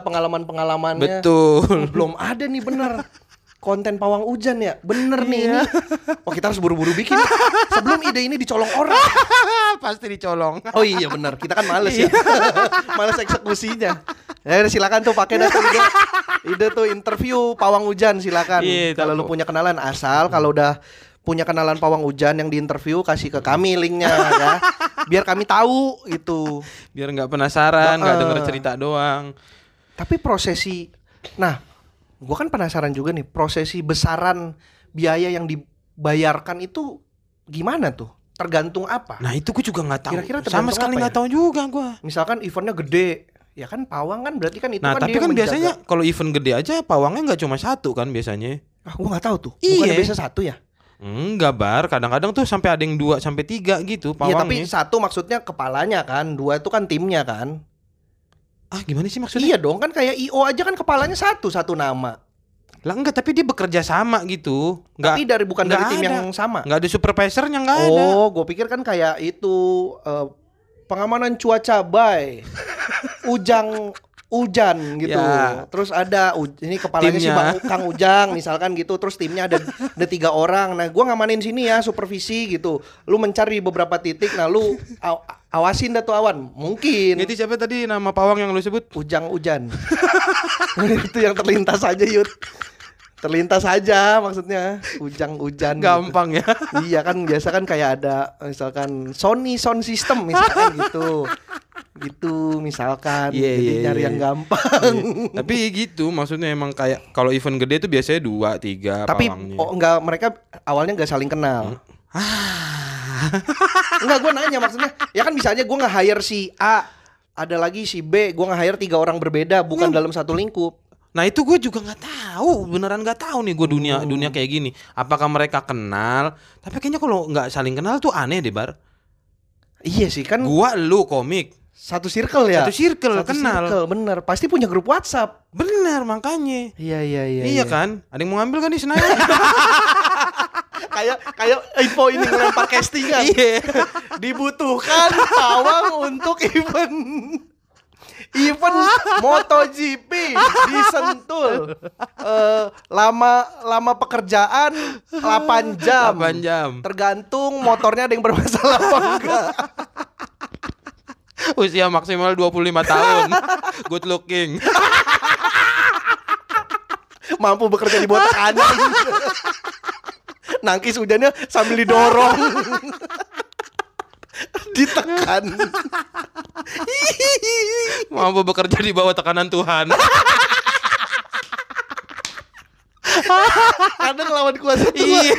A: pengalaman-pengalamannya.
B: betul
A: *laughs* Oh, Belum ada nih bener konten pawang hujan ya. Bener nih
B: Iya.
A: ini. Wah, kita harus buru-buru bikin sebelum ide ini dicolong orang. Ah,
B: pasti dicolong
A: Oh iya benar, kita kan males ya. *laughs* males eksekusinya. Ya silakan tuh pakai dah tuh ide. Ide tuh interview pawang hujan silakan.
B: Iya,
A: kalau lu
B: tahu.
A: punya kenalan asal kalau udah punya kenalan pawang hujan yang diinterview kasih ke kami linknya ya. Biar kami tahu gitu.
B: biar nggak penasaran nggak
A: Heeh.
B: denger cerita doang
A: Tapi prosesi nah, gua kan penasaran juga nih prosesi besaran biaya yang dibayarkan itu gimana tuh? Tergantung apa?
B: nah itu gue juga nggak tahu
A: Kira-kira
B: sama
A: tergantung
B: sekali
A: apa ya?
B: nggak tahu juga gue
A: Misalkan eventnya gede, ya kan pawang kan berarti kan itu
B: nah
A: kan
B: tapi
A: dia
B: kan
A: menjaga.
B: biasanya kalau event gede aja pawangnya nggak cuma satu kan biasanya
A: Ah, gua nggak tahu tuh.
B: Iya.
A: Bukannya biasa satu ya?
B: enggak bar kadang-kadang tuh sampai ada yang dua sampai tiga gitu
A: Iya, tapi
B: pawangnya
A: satu maksudnya kepalanya kan, dua itu kan timnya kan.
B: ah gimana sih maksudnya
A: Iya dong kan kayak IO aja kan kepalanya satu satu nama.
B: Lah enggak, tapi dia bekerja sama gitu. Enggak
A: tapi dari bukan dari
B: nggak
A: tim
B: ada.
A: yang sama.
B: enggak ada supervisornya enggak ada.
A: Oh, gue pikir kan kayak itu eh, pengamanan cuaca
B: *laughs*
A: by Ujang Ujan gitu.
B: Ya.
A: Terus ada U- ini kepalanya si
B: Timnya.
A: Bang Kang Ujang misalkan gitu. Terus timnya ada ada tiga orang. Nah, gua ngamanin sini ya supervisi gitu. Lu mencari beberapa titik. Nah, lu aw- awasin dah tuh awan. Mungkin
B: Jadi siapa tadi nama pawang yang lu sebut?
A: Ujang Ujan. *laughs* itu yang terlintas aja, Yud. Terlintas aja maksudnya. Ujang Ujan. gitu.
B: Gampang
A: *laughs*
B: ya.
A: iya kan biasa kan kayak ada misalkan Sony sound system misalkan
B: *laughs*
A: gitu gitu misalkan
B: Iya,
A: jadi
B: iya,
A: nyari
B: iya.
A: yang gampang
B: tapi gitu maksudnya emang kayak kalau event gede tuh biasanya dua tiga
A: tapi
B: pawangnya.
A: oh enggak mereka awalnya enggak saling kenal
B: Hmm?
A: Ah. enggak gue nanya maksudnya ya kan misalnya gue nggak hire si A ada lagi si B gue nggak hire tiga orang berbeda
B: Iya.
A: bukan dalam satu lingkup
B: Nah itu gue juga nggak tahu, beneran nggak tahu nih gue
A: Oh.
B: dunia dunia kayak gini. Apakah mereka kenal? Tapi kayaknya kalau nggak saling kenal tuh aneh deh bar.
A: iya sih kan
B: Gua lu komik,
A: satu circle ya
B: satu circle
A: Satu
B: kenal.
A: circle, bener pasti punya grup WhatsApp
B: Bener makanya.
A: iya iya iya
B: iya, kan? Ada yang mau ngambil kan di Senayan?
A: *laughs* kayak kayak info ini ngelempar castingan
B: Iya.
A: kan? *laughs* dibutuhkan pawang untuk event event MotoGP di Sentul Eh, lama lama pekerjaan 8 jam
B: 8 jam.
A: tergantung motornya ada yang bermasalah apa enggak
B: *laughs* Usia maksimal 25 tahun. *laughs* Good looking.
A: mampu bekerja di bawah tekanan nangkis hujannya sambil didorong ditekan
B: Mampu bekerja di bawah tekanan
A: *laughs*
B: Tuhan.
A: kadang lawan kuasa tuh
B: Iya.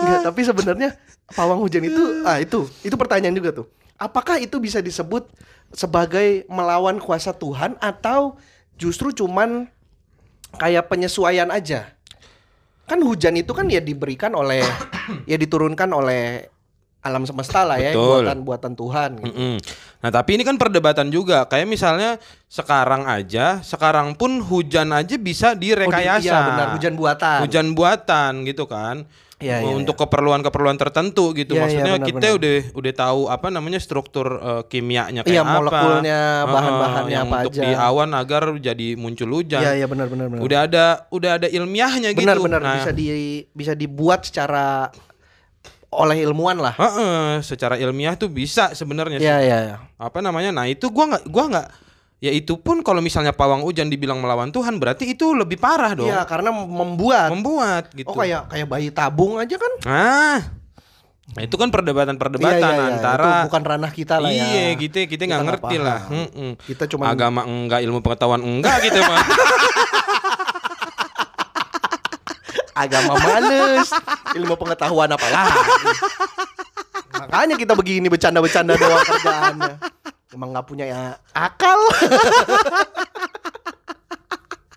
A: Enggak, tapi sebenarnya pawang hujan itu ah itu itu pertanyaan juga tuh. Apakah itu bisa disebut sebagai melawan kuasa Tuhan atau justru cuman kayak penyesuaian aja? Kan hujan itu kan ya diberikan
B: *coughs*
A: oleh ya diturunkan oleh alam semesta lah ya
B: Betul.
A: buatan-buatan Tuhan gitu.
B: Mm-mm. Nah, tapi ini kan perdebatan juga. Kayak misalnya sekarang aja, sekarang pun hujan aja
A: Oh,
B: bisa
A: di-
B: direkayasa.
A: iya, benar hujan buatan.
B: Hujan buatan gitu kan.
A: Iya, iya,
B: untuk keperluan-keperluan tertentu
A: Iya,
B: gitu.
A: iya,
B: Maksudnya
A: benar,
B: kita
A: benar.
B: udah udah tahu apa namanya struktur eh, kimianya kayak
A: Iya,
B: apa.
A: molekulnya,
B: Heeh,
A: bahan-bahannya
B: yang
A: apa
B: untuk
A: aja.
B: di awan agar jadi muncul hujan.
A: Iya, iya benar benar benar.
B: Udah ada udah ada ilmiahnya gitu.
A: benar benar
B: Nah,
A: bisa di bisa dibuat secara oleh ilmuwan lah.
B: heeh, secara ilmiah tuh bisa sebenarnya
A: Iya, iya, iya.
B: apa namanya nah itu gua nggak gua nggak Ya itu pun kalau misalnya pawang hujan dibilang melawan Tuhan berarti itu lebih parah dong.
A: Iya, karena membuat.
B: Membuat gitu.
A: Oh kayak kayak bayi tabung aja kan?
B: Ah. Nah, itu kan perdebatan-perdebatan
A: Iya, iya, iya.
B: antara
A: Itu bukan ranah kita lah ya.
B: Iya, kita kita nggak
A: nggak
B: ngerti lah.
A: paham.
B: Mm-mm.
A: Kita cuma
B: Agama enggak, ilmu pengetahuan enggak gitu,
A: *laughs*
B: Pak.
A: agama
B: *laughs*
A: males, ilmu pengetahuan apa lah. Makanya kita begini bercanda-bercanda doang kerjaannya. Emang nggak punya ya akal. *laughs*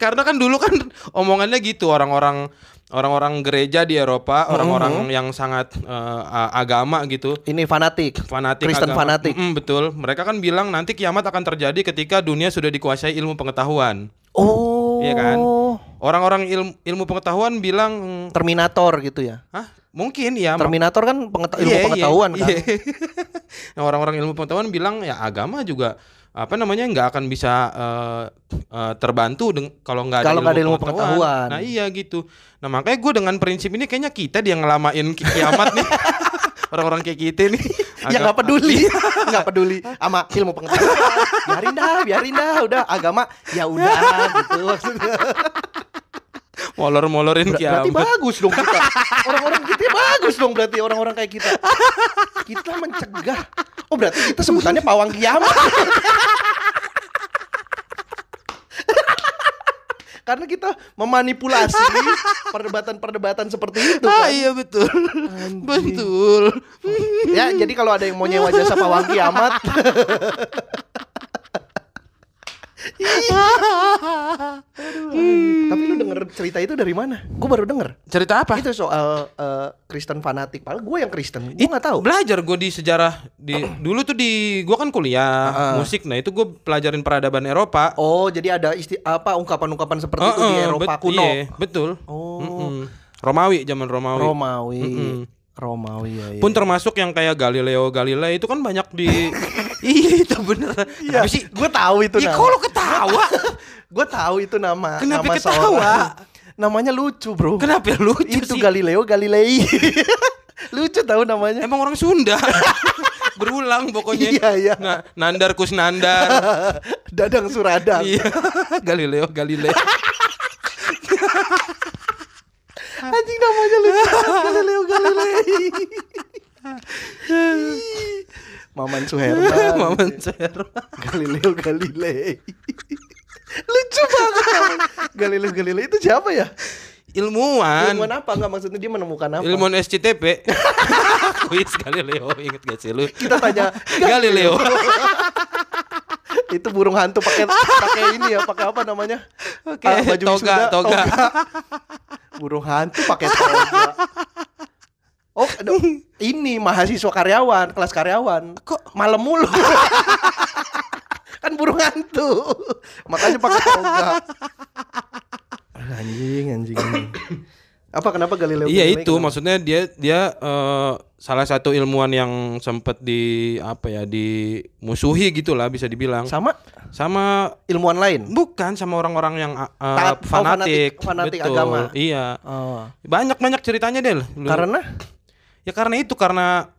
B: Karena kan dulu kan omongannya gitu orang-orang orang-orang gereja di Eropa, orang-orang yang sangat eh, a- agama gitu.
A: Ini fanatik.
B: fanatik
A: Kristen
B: agama.
A: fanatik.
B: Mm-mm, betul mereka kan bilang nanti kiamat akan terjadi ketika dunia sudah dikuasai ilmu pengetahuan
A: Oh.
B: Iya kan? orang-orang ilmu ilmu pengetahuan bilang mm,
A: Terminator gitu ya.
B: hah mungkin ya ma-
A: Terminator kan pengeta- ilmu
B: iya, iya,
A: pengetahuan kan.
B: iya. *laughs* Nah, orang-orang ilmu pengetahuan bilang ya agama juga apa namanya nggak akan bisa eh, eh, terbantu deng- kalau nggak ada,
A: Kalau nggak ada ilmu pengetahuan.
B: Nah iya gitu. Nah makanya gue dengan prinsip ini kayaknya kita dia ngelamain ki- kiamat
A: *laughs*
B: nih orang-orang kayak kita nih.
A: *laughs* Ya
B: Agama-
A: nggak peduli,
B: Iya.
A: *laughs* nggak peduli sama ilmu pengetahuan. Biarin dah, biarin dah, udah agama ya udah gitu maksudnya.
B: Molor-molorin
A: Ber-
B: kiamat.
A: berarti bagus dong kita. Orang-orang kita bagus dong berarti orang-orang kayak kita. Kita mencegah. Oh berarti kita sebutannya pawang kiamat. Karena kita memanipulasi perdebatan-perdebatan seperti itu. Kan?
B: Ah iya betul. Betul.
A: Ya, jadi kalau ada yang mau nyewa jasa pawang kiamat, tapi lu denger cerita itu dari mana? Gue baru denger.
B: Cerita apa?
A: Itu soal eh, Kristen fanatik. Padahal gue yang Kristen. Gue
B: It-
A: nggak tahu.
B: Belajar gue di sejarah di dulu tuh di gua kan kuliah musik. Nah, itu gue pelajarin peradaban Eropa.
A: Oh, jadi ada isti apa ungkapan-ungkapan seperti itu di
B: Eh, eh,
A: Eropa
B: bet-
A: kuno.
B: iya, betul.
A: Oh.
B: Mm-mm. Romawi zaman Romawi.
A: Romawi.
B: Mm-mm.
A: Romawi ya. ya.
B: Pun termasuk yang kayak Galileo Galilei itu kan banyak
A: *laughs*
B: di Iya, itu bener.
A: Iya,
B: Kenapa sih?
A: gue tahu itu
B: Ya,
A: nama.
B: kok lu ketawa?
A: Gue tahu itu nama.
B: Kenapa
A: nama
B: ketawa?
A: seorang. Namanya lucu, Bro.
B: *laughs* Kenapa ya? lucu
A: itu
B: sih?
A: Galileo Galilei. *laughs* lucu tahu namanya.
B: Emang orang Sunda. *laughs* Berulang pokoknya.
A: Iya, iya.
B: Nah, Nandar
A: *laughs*
B: Kusnandar.
A: Dadang Suradang.
B: Iya, *laughs* Galileo Galilei.
A: Anjing namanya lucu. banget, Galileo
B: *laughs*
A: Galilei. Maman Suherman.
B: *laughs* Maman Sero.
A: Galileo Galilei. Lucu banget. Galileo Galilei itu siapa ya?
B: Ilmuwan.
A: Ilmuwan apa enggak maksudnya dia menemukan apa?
B: Ilmuwan SCTP. *laughs* Kuis Galileo, inget gak sih lu?
A: Kita tanya
B: Galileo.
A: itu burung hantu pakai pakai ini ya, pakai apa namanya?
B: Oke,
A: Ah, baju
B: toga,
A: wisuda,
B: toga.
A: Burung hantu pakai toga. Oh, aduh, ini mahasiswa karyawan, kelas karyawan. Kok malam mulu? kan burung hantu. Makanya pakai toga. Anjing, anjing. anjing. Apa kenapa Galileo?
B: Iya
A: Galilei
B: itu
A: kenapa?
B: maksudnya dia dia eh, salah satu ilmuwan yang sempet di apa ya dimusuhi gitulah bisa dibilang
A: sama
B: sama
A: ilmuwan lain.
B: bukan sama orang-orang yang eh,
A: Taat- oh, fanatik-
B: fanatik,
A: fanatik
B: betul.
A: agama.
B: Iya
A: Oh.
B: banyak banyak ceritanya deh lu.
A: Karena
B: Ya karena itu karena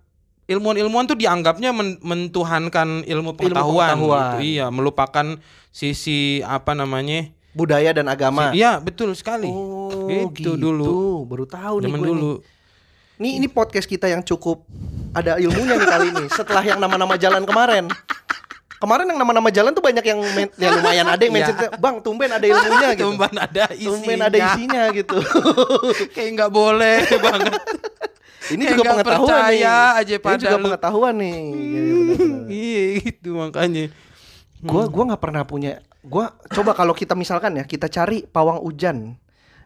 B: ilmuwan-ilmuwan tuh dianggapnya men- mentuhankan ilmu pengetahuan,
A: pengetahuan.
B: gitu. Iya, melupakan sisi apa namanya?
A: budaya dan agama.
B: Iya, betul sekali.
A: Oh,
B: gitu, dulu.
A: Baru tahu nih
B: Zaman
A: gue
B: dulu.
A: Nih ini podcast kita yang cukup ada ilmunya nih kali ini. Setelah yang nama-nama jalan kemarin. Kemarin yang nama-nama jalan tuh banyak yang men- yang lumayan ada yang mention, "Bang, tumben ada ilmunya" gitu.
B: Iya. *laughs* Tumben ada isinya.
A: Tumben ada isinya
B: *laughs*
A: gitu.
B: Kayak nggak boleh *laughs* banget.
A: ini
B: Kayak
A: juga
B: nggak
A: pengetahuan nih.
B: percaya aja
A: ini
B: pada
A: juga
B: lu.
A: pengetahuan nih. Gini, bener-bener.
B: *laughs* iya, gitu makanya. Hmm.
A: Gua gua nggak pernah punya. Gua coba kalau kita misalkan ya, kita cari pawang hujan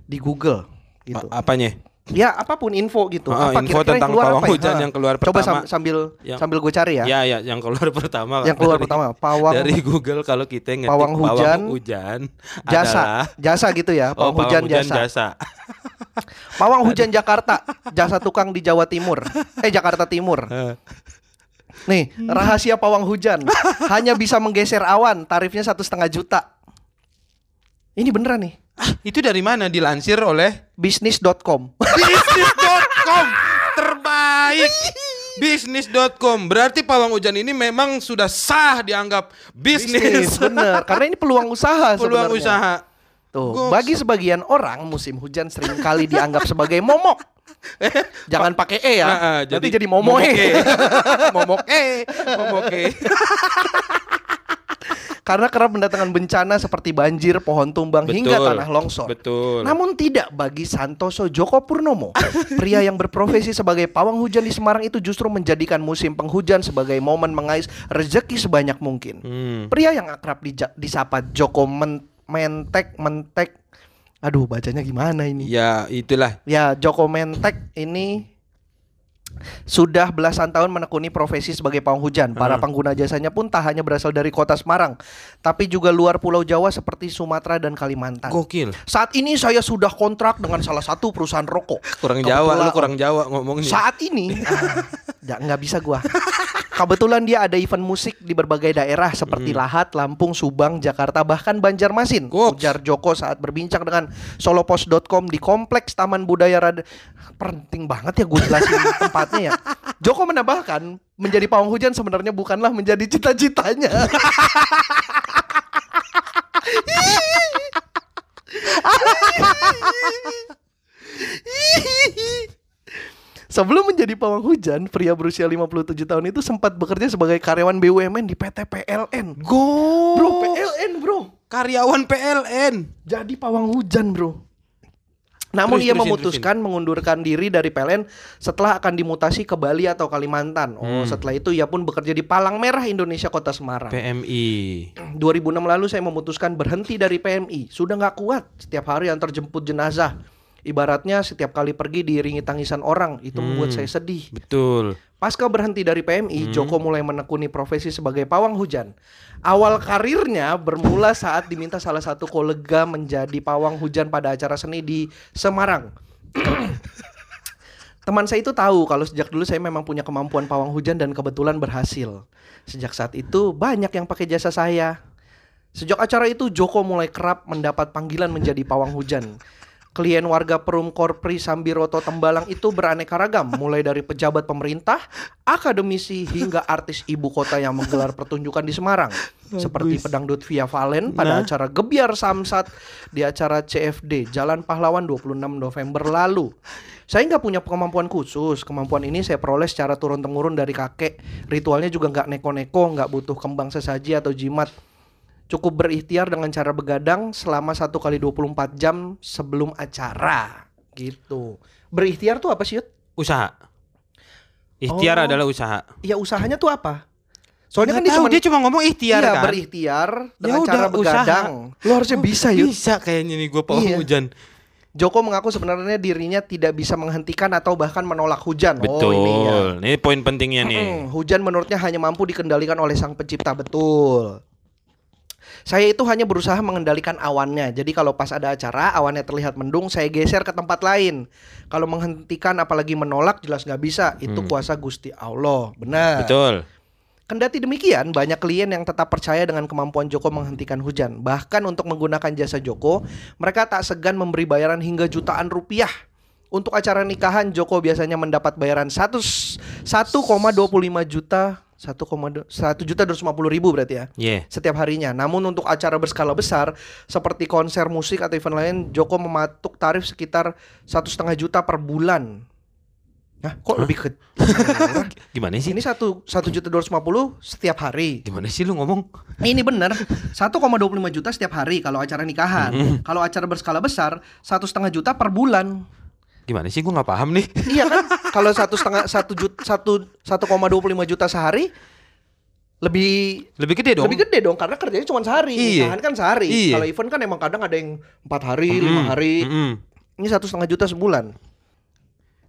A: di Google gitu.
B: A- apanya?
A: Ya apapun info gitu.
B: Ah,
A: apa kira-kira
B: info
A: yang
B: tentang
A: keluar
B: pawang
A: apa ya?
B: hujan
A: Ha.
B: yang keluar
A: Coba sam-
B: pertama.
A: sambil
B: Yang-
A: sambil gue cari ya.
B: Ya, ya, yang keluar *laughs* pertama.
A: Yang keluar
B: dari-
A: pertama, pawang-
B: dari Google kalau kita ngetik
A: Pawang hujan,
B: hujan
A: Jasa,
B: adalah-
A: jasa gitu ya.
B: oh,
A: Pawang hujan jasa. *laughs* Pawang hujan Jakarta, jasa tukang di Jawa Timur. Eh Jakarta Timur.
B: Eh.
A: Nih rahasia pawang hujan hanya bisa menggeser awan. Tarifnya satu setengah juta. Ini beneran nih.
B: Itu dari mana dilansir oleh
A: *laughs* Bisnis.com. *laughs*
B: bisnis.com terbaik Bisnis.com berarti pawang hujan ini memang sudah sah dianggap
A: Bisnis,
B: bisnis.
A: bener. Karena ini peluang usaha
B: *laughs* Peluang
A: sebenarnya.
B: usaha.
A: Tuh,
B: Goks.
A: bagi sebagian orang musim hujan seringkali dianggap sebagai momok. *laughs* Jangan pakai e ya.
B: Ah, ah,
A: Nanti jadi E. momoe. *laughs*
B: momoke.
A: momoke.
B: E.
A: *laughs*
B: Momoke.
A: Karena kerap mendatangkan bencana seperti banjir, pohon tumbang hingga
B: Betul.
A: tanah longsor.
B: Betul.
A: Namun tidak bagi Santoso Joko Purnomo, pria yang berprofesi sebagai pawang hujan di Semarang itu justru menjadikan musim penghujan sebagai momen mengais rezeki sebanyak mungkin.
B: Hmm.
A: Pria yang akrab dija- disapa Joko Men- Mentek Mentek. Aduh, bacanya gimana ini?
B: Ya itulah.
A: Ya, Joko Mentek ini sudah belasan tahun menekuni profesi sebagai pawang
B: Hmm.
A: hujan. Para pengguna jasanya pun tak hanya berasal dari kota Semarang, tapi juga luar Pulau Jawa seperti Sumatera dan Kalimantan.
B: Gokil.
A: Saat ini saya sudah kontrak dengan salah satu perusahaan rokok.
B: Kurang Jawa,
A: Kebetulan-
B: lu kurang Jawa ngomongnya.
A: Saat ini *laughs* ah, nggak nggak bisa gua. Kebetulan dia ada event musik di berbagai daerah seperti Lahat, Lampung, Subang, Jakarta bahkan Banjarmasin.
B: Goks.
A: Ujar Joko saat berbincang dengan solopos.com di Kompleks Taman Budaya Rad penting banget ya gue jelasin tempatnya ya. Joko menambahkan, menjadi pawang hujan sebenarnya bukanlah menjadi cita-citanya. *laughs* Sebelum menjadi pawang hujan, pria berusia 57 tahun itu sempat bekerja sebagai karyawan BUMN di PT PLN.
B: Go.
A: Bro, PLN, bro.
B: Karyawan PLN.
A: Jadi pawang hujan, bro. Namun
B: Terus,
A: ia
B: terusin,
A: memutuskan mengundurkan diri dari PLN setelah akan dimutasi ke Bali atau Kalimantan. Oh,
B: Hmm.
A: setelah itu ia pun bekerja di Palang Merah Indonesia Kota Semarang.
B: PMI.
A: 2006 lalu saya memutuskan berhenti dari PMI. Sudah nggak kuat setiap hari antar jemput jenazah. Ibaratnya setiap kali pergi diiringi tangisan orang itu
B: Hmm.
A: membuat saya sedih.
B: Betul.
A: Pasca berhenti dari PMI, Joko mulai menekuni profesi sebagai pawang hujan. Awal karirnya bermula saat diminta salah satu kolega menjadi pawang hujan pada acara seni di Semarang. *coughs* Teman saya itu tahu kalau sejak dulu saya memang punya kemampuan pawang hujan dan kebetulan berhasil. Sejak saat itu banyak yang pakai jasa saya. Sejak acara itu Joko mulai kerap mendapat panggilan menjadi pawang hujan. Klien warga Perum Korpri Sambiroto Tembalang itu beraneka ragam, mulai dari pejabat pemerintah, akademisi hingga artis ibu kota yang menggelar pertunjukan di Semarang, seperti pedangdut Via Valen pada acara Gebiar Samsat di acara CFD Jalan Pahlawan 26 November lalu. Saya nggak punya kemampuan khusus, kemampuan ini saya peroleh secara turun temurun dari kakek. Ritualnya juga nggak neko-neko, nggak butuh kembang sesaji atau jimat cukup berikhtiar dengan cara begadang selama 1 kali 24 jam sebelum acara gitu. Berikhtiar tuh apa sih? Yud?
B: Usaha. Ikhtiar
A: Oh.
B: adalah usaha.
A: Ya usahanya tuh apa? Soalnya
B: Nggak
A: kan
B: tahu,
A: dia
B: dia cuma ngomong
A: cuma
B: ikhtiar
A: iya, Ya
B: kan.
A: berikhtiar dengan
B: udah,
A: cara begadang. Lo harusnya Oh, bisa yuk.
B: Bisa kayaknya nih gua pawang
A: Iya.
B: hujan.
A: Joko mengaku sebenarnya dirinya tidak bisa menghentikan atau bahkan menolak hujan.
B: Betul.
A: Oh, ini ya.
B: Ini poin pentingnya nih.
A: Mm, hujan menurutnya hanya mampu dikendalikan oleh sang pencipta betul. Saya itu hanya berusaha mengendalikan awannya. Jadi kalau pas ada acara awannya terlihat mendung, saya geser ke tempat lain. Kalau menghentikan apalagi menolak jelas nggak bisa. Itu
B: Hmm.
A: kuasa Gusti Allah. Benar.
B: Betul.
A: Kendati demikian, banyak klien yang tetap percaya dengan kemampuan Joko menghentikan hujan. Bahkan untuk menggunakan jasa Joko, mereka tak segan memberi bayaran hingga jutaan rupiah. Untuk acara nikahan, Joko biasanya mendapat bayaran 1 1,25 juta 1, 1 juta 250 ribu berarti ya
B: Iya.
A: setiap harinya. Namun untuk acara berskala besar seperti konser musik atau event lain, Joko mematok tarif sekitar satu setengah juta per bulan. Nah, kok lebih ke
B: Gimana sih?
A: ini satu satu juta dua setiap hari. Nah,
B: Gimana sih lu ngomong?
A: Ini bener 1,25 juta setiap hari kalau acara nikahan.
B: Hmm.
A: Kalau acara berskala besar satu setengah juta per bulan.
B: Gimana sih gua nggak paham nih.
A: iya kan? Kalau satu setengah satu juta satu 1,25 juta sehari lebih
B: Lebih gede dong.
A: lebih gede dong karena kerjanya cuma sehari.
B: Iya.
A: Nikahan kan sehari.
B: Iya.
A: Kalau event kan emang kadang ada yang empat hari,
B: Mm,
A: lima hari.
B: mm.
A: Ini satu setengah juta sebulan.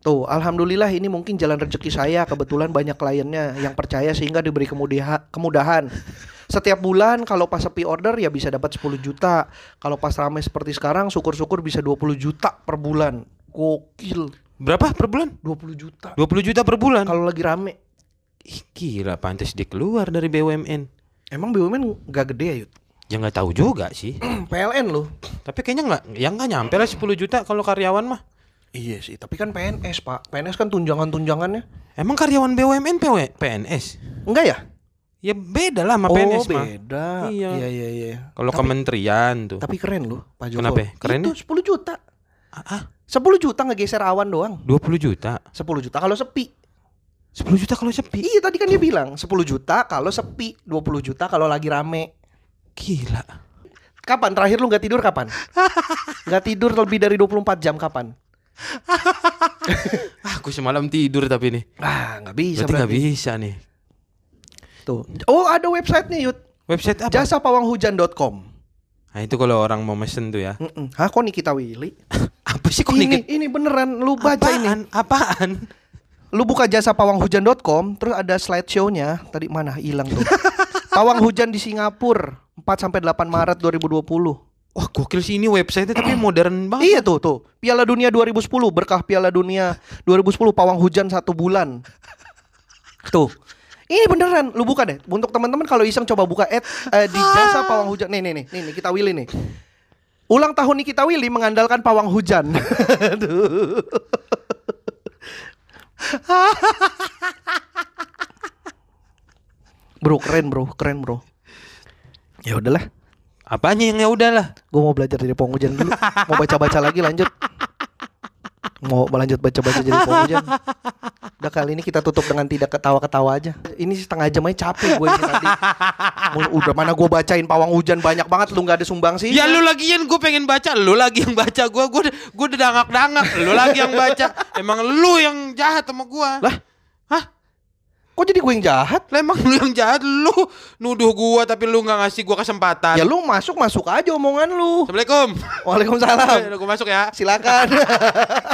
A: Tuh, alhamdulillah ini mungkin jalan rezeki saya. Kebetulan banyak kliennya yang percaya sehingga diberi kemudiha- kemudahan. Setiap bulan kalau pas sepi order ya bisa dapat 10 juta. Kalau pas rame seperti sekarang syukur-syukur bisa 20 juta per bulan. Gokil,
B: Berapa per bulan?
A: 20 juta
B: 20 juta per bulan.
A: kalau lagi rame.
B: Ih, gila, pantas dia keluar dari BUMN.
A: Emang BUMN gak gede ya, Yud? *clears throat*
B: Ya nggak tahu *clears throat* juga sih.
A: PLN loh.
B: Tapi kayaknya nggak, ya nggak nyampe lah 10 juta kalau karyawan mah.
A: Iya sih, tapi kan PNS pak, PNS kan tunjangan-tunjangannya
B: Emang karyawan BUMN PW PNS?
A: Enggak ya?
B: Ya beda lah sama
A: oh
B: PNS mah.
A: beda,
B: Iya.
A: iya iya iya
B: Kalau
A: Tapi-
B: kementerian tuh.
A: Tapi keren loh Pak Jokowi
B: gitu. Kenapa ya? Keren
A: Itu 10 juta
B: Ah, ah,
A: 10 juta ngegeser awan doang
B: 20 juta.
A: 10 juta kalau sepi
B: 10 juta kalau sepi.
A: Iya tadi kan dia bilang 10 juta kalau sepi 20 juta kalau lagi rame
B: Gila.
A: Kapan terakhir lu gak tidur
B: *laughs*
A: kapan? gak tidur lebih dari 24 jam kapan?
B: Ah, aku semalam tidur tapi nih.
A: Ah gak bisa
B: Berarti nggak
A: berarti.
B: bisa nih.
A: Tuh. Oh ada websitenya Yud
B: Website apa?
A: Jasapawanghujan.com
B: Nah, itu kalau orang mau mesen tuh ya.
A: Mm-mm. Hah kok Nikita Willy?
B: Apa sih Eh, kok
A: Ini,
B: dikit?
A: ini beneran lu baca ini
B: apaan? Apaan?
A: Lu buka jasa pawanghujan.com, terus ada slideshow-nya. Tadi mana hilang tuh. Pawang hujan di Singapura 4 sampai 8 Maret 2020.
B: Wah, gokil sih ini website *clears throat* tapi modern banget.
A: Iya tuh tuh. Piala Dunia 2010 berkah Piala Dunia 2010 pawang hujan satu bulan. Tuh. Ini beneran lu buka deh. Untuk teman-teman kalau iseng coba buka at eh, di jasa pawang hujan. Nih nih nih, nih kita Willy nih. Ulang tahun Nikita Willy mengandalkan pawang hujan. *laughs* Tuh. bro keren bro keren bro ya udahlah
B: Apanya yang ya udahlah.
A: Gue mau belajar jadi pohon hujan dulu. Mau baca-baca lagi lanjut. Mau lanjut baca-baca jadi pohon hujan. Udah kali ini kita tutup dengan tidak ketawa-ketawa aja. Ini setengah jam aja capek gue ini tadi. Mul- Udah mana gue bacain pawang hujan banyak banget lu nggak ada sumbang sih.
B: Ya lu lagian gue pengen baca, lu lagi yang baca gua, gua udah- gua udah dangak-dangak, lu lagi yang baca. Emang lu yang jahat sama gua.
A: Lah?
B: Hah?
A: Kok jadi gue yang jahat?
B: Lah emang lu yang jahat, lu nuduh gua tapi lu nggak ngasih gua kesempatan.
A: Ya lu masuk-masuk aja omongan lu.
B: Assalamualaikum. *laughs*
A: Waalaikumsalam.
B: Gue masuk ya.
A: Silakan.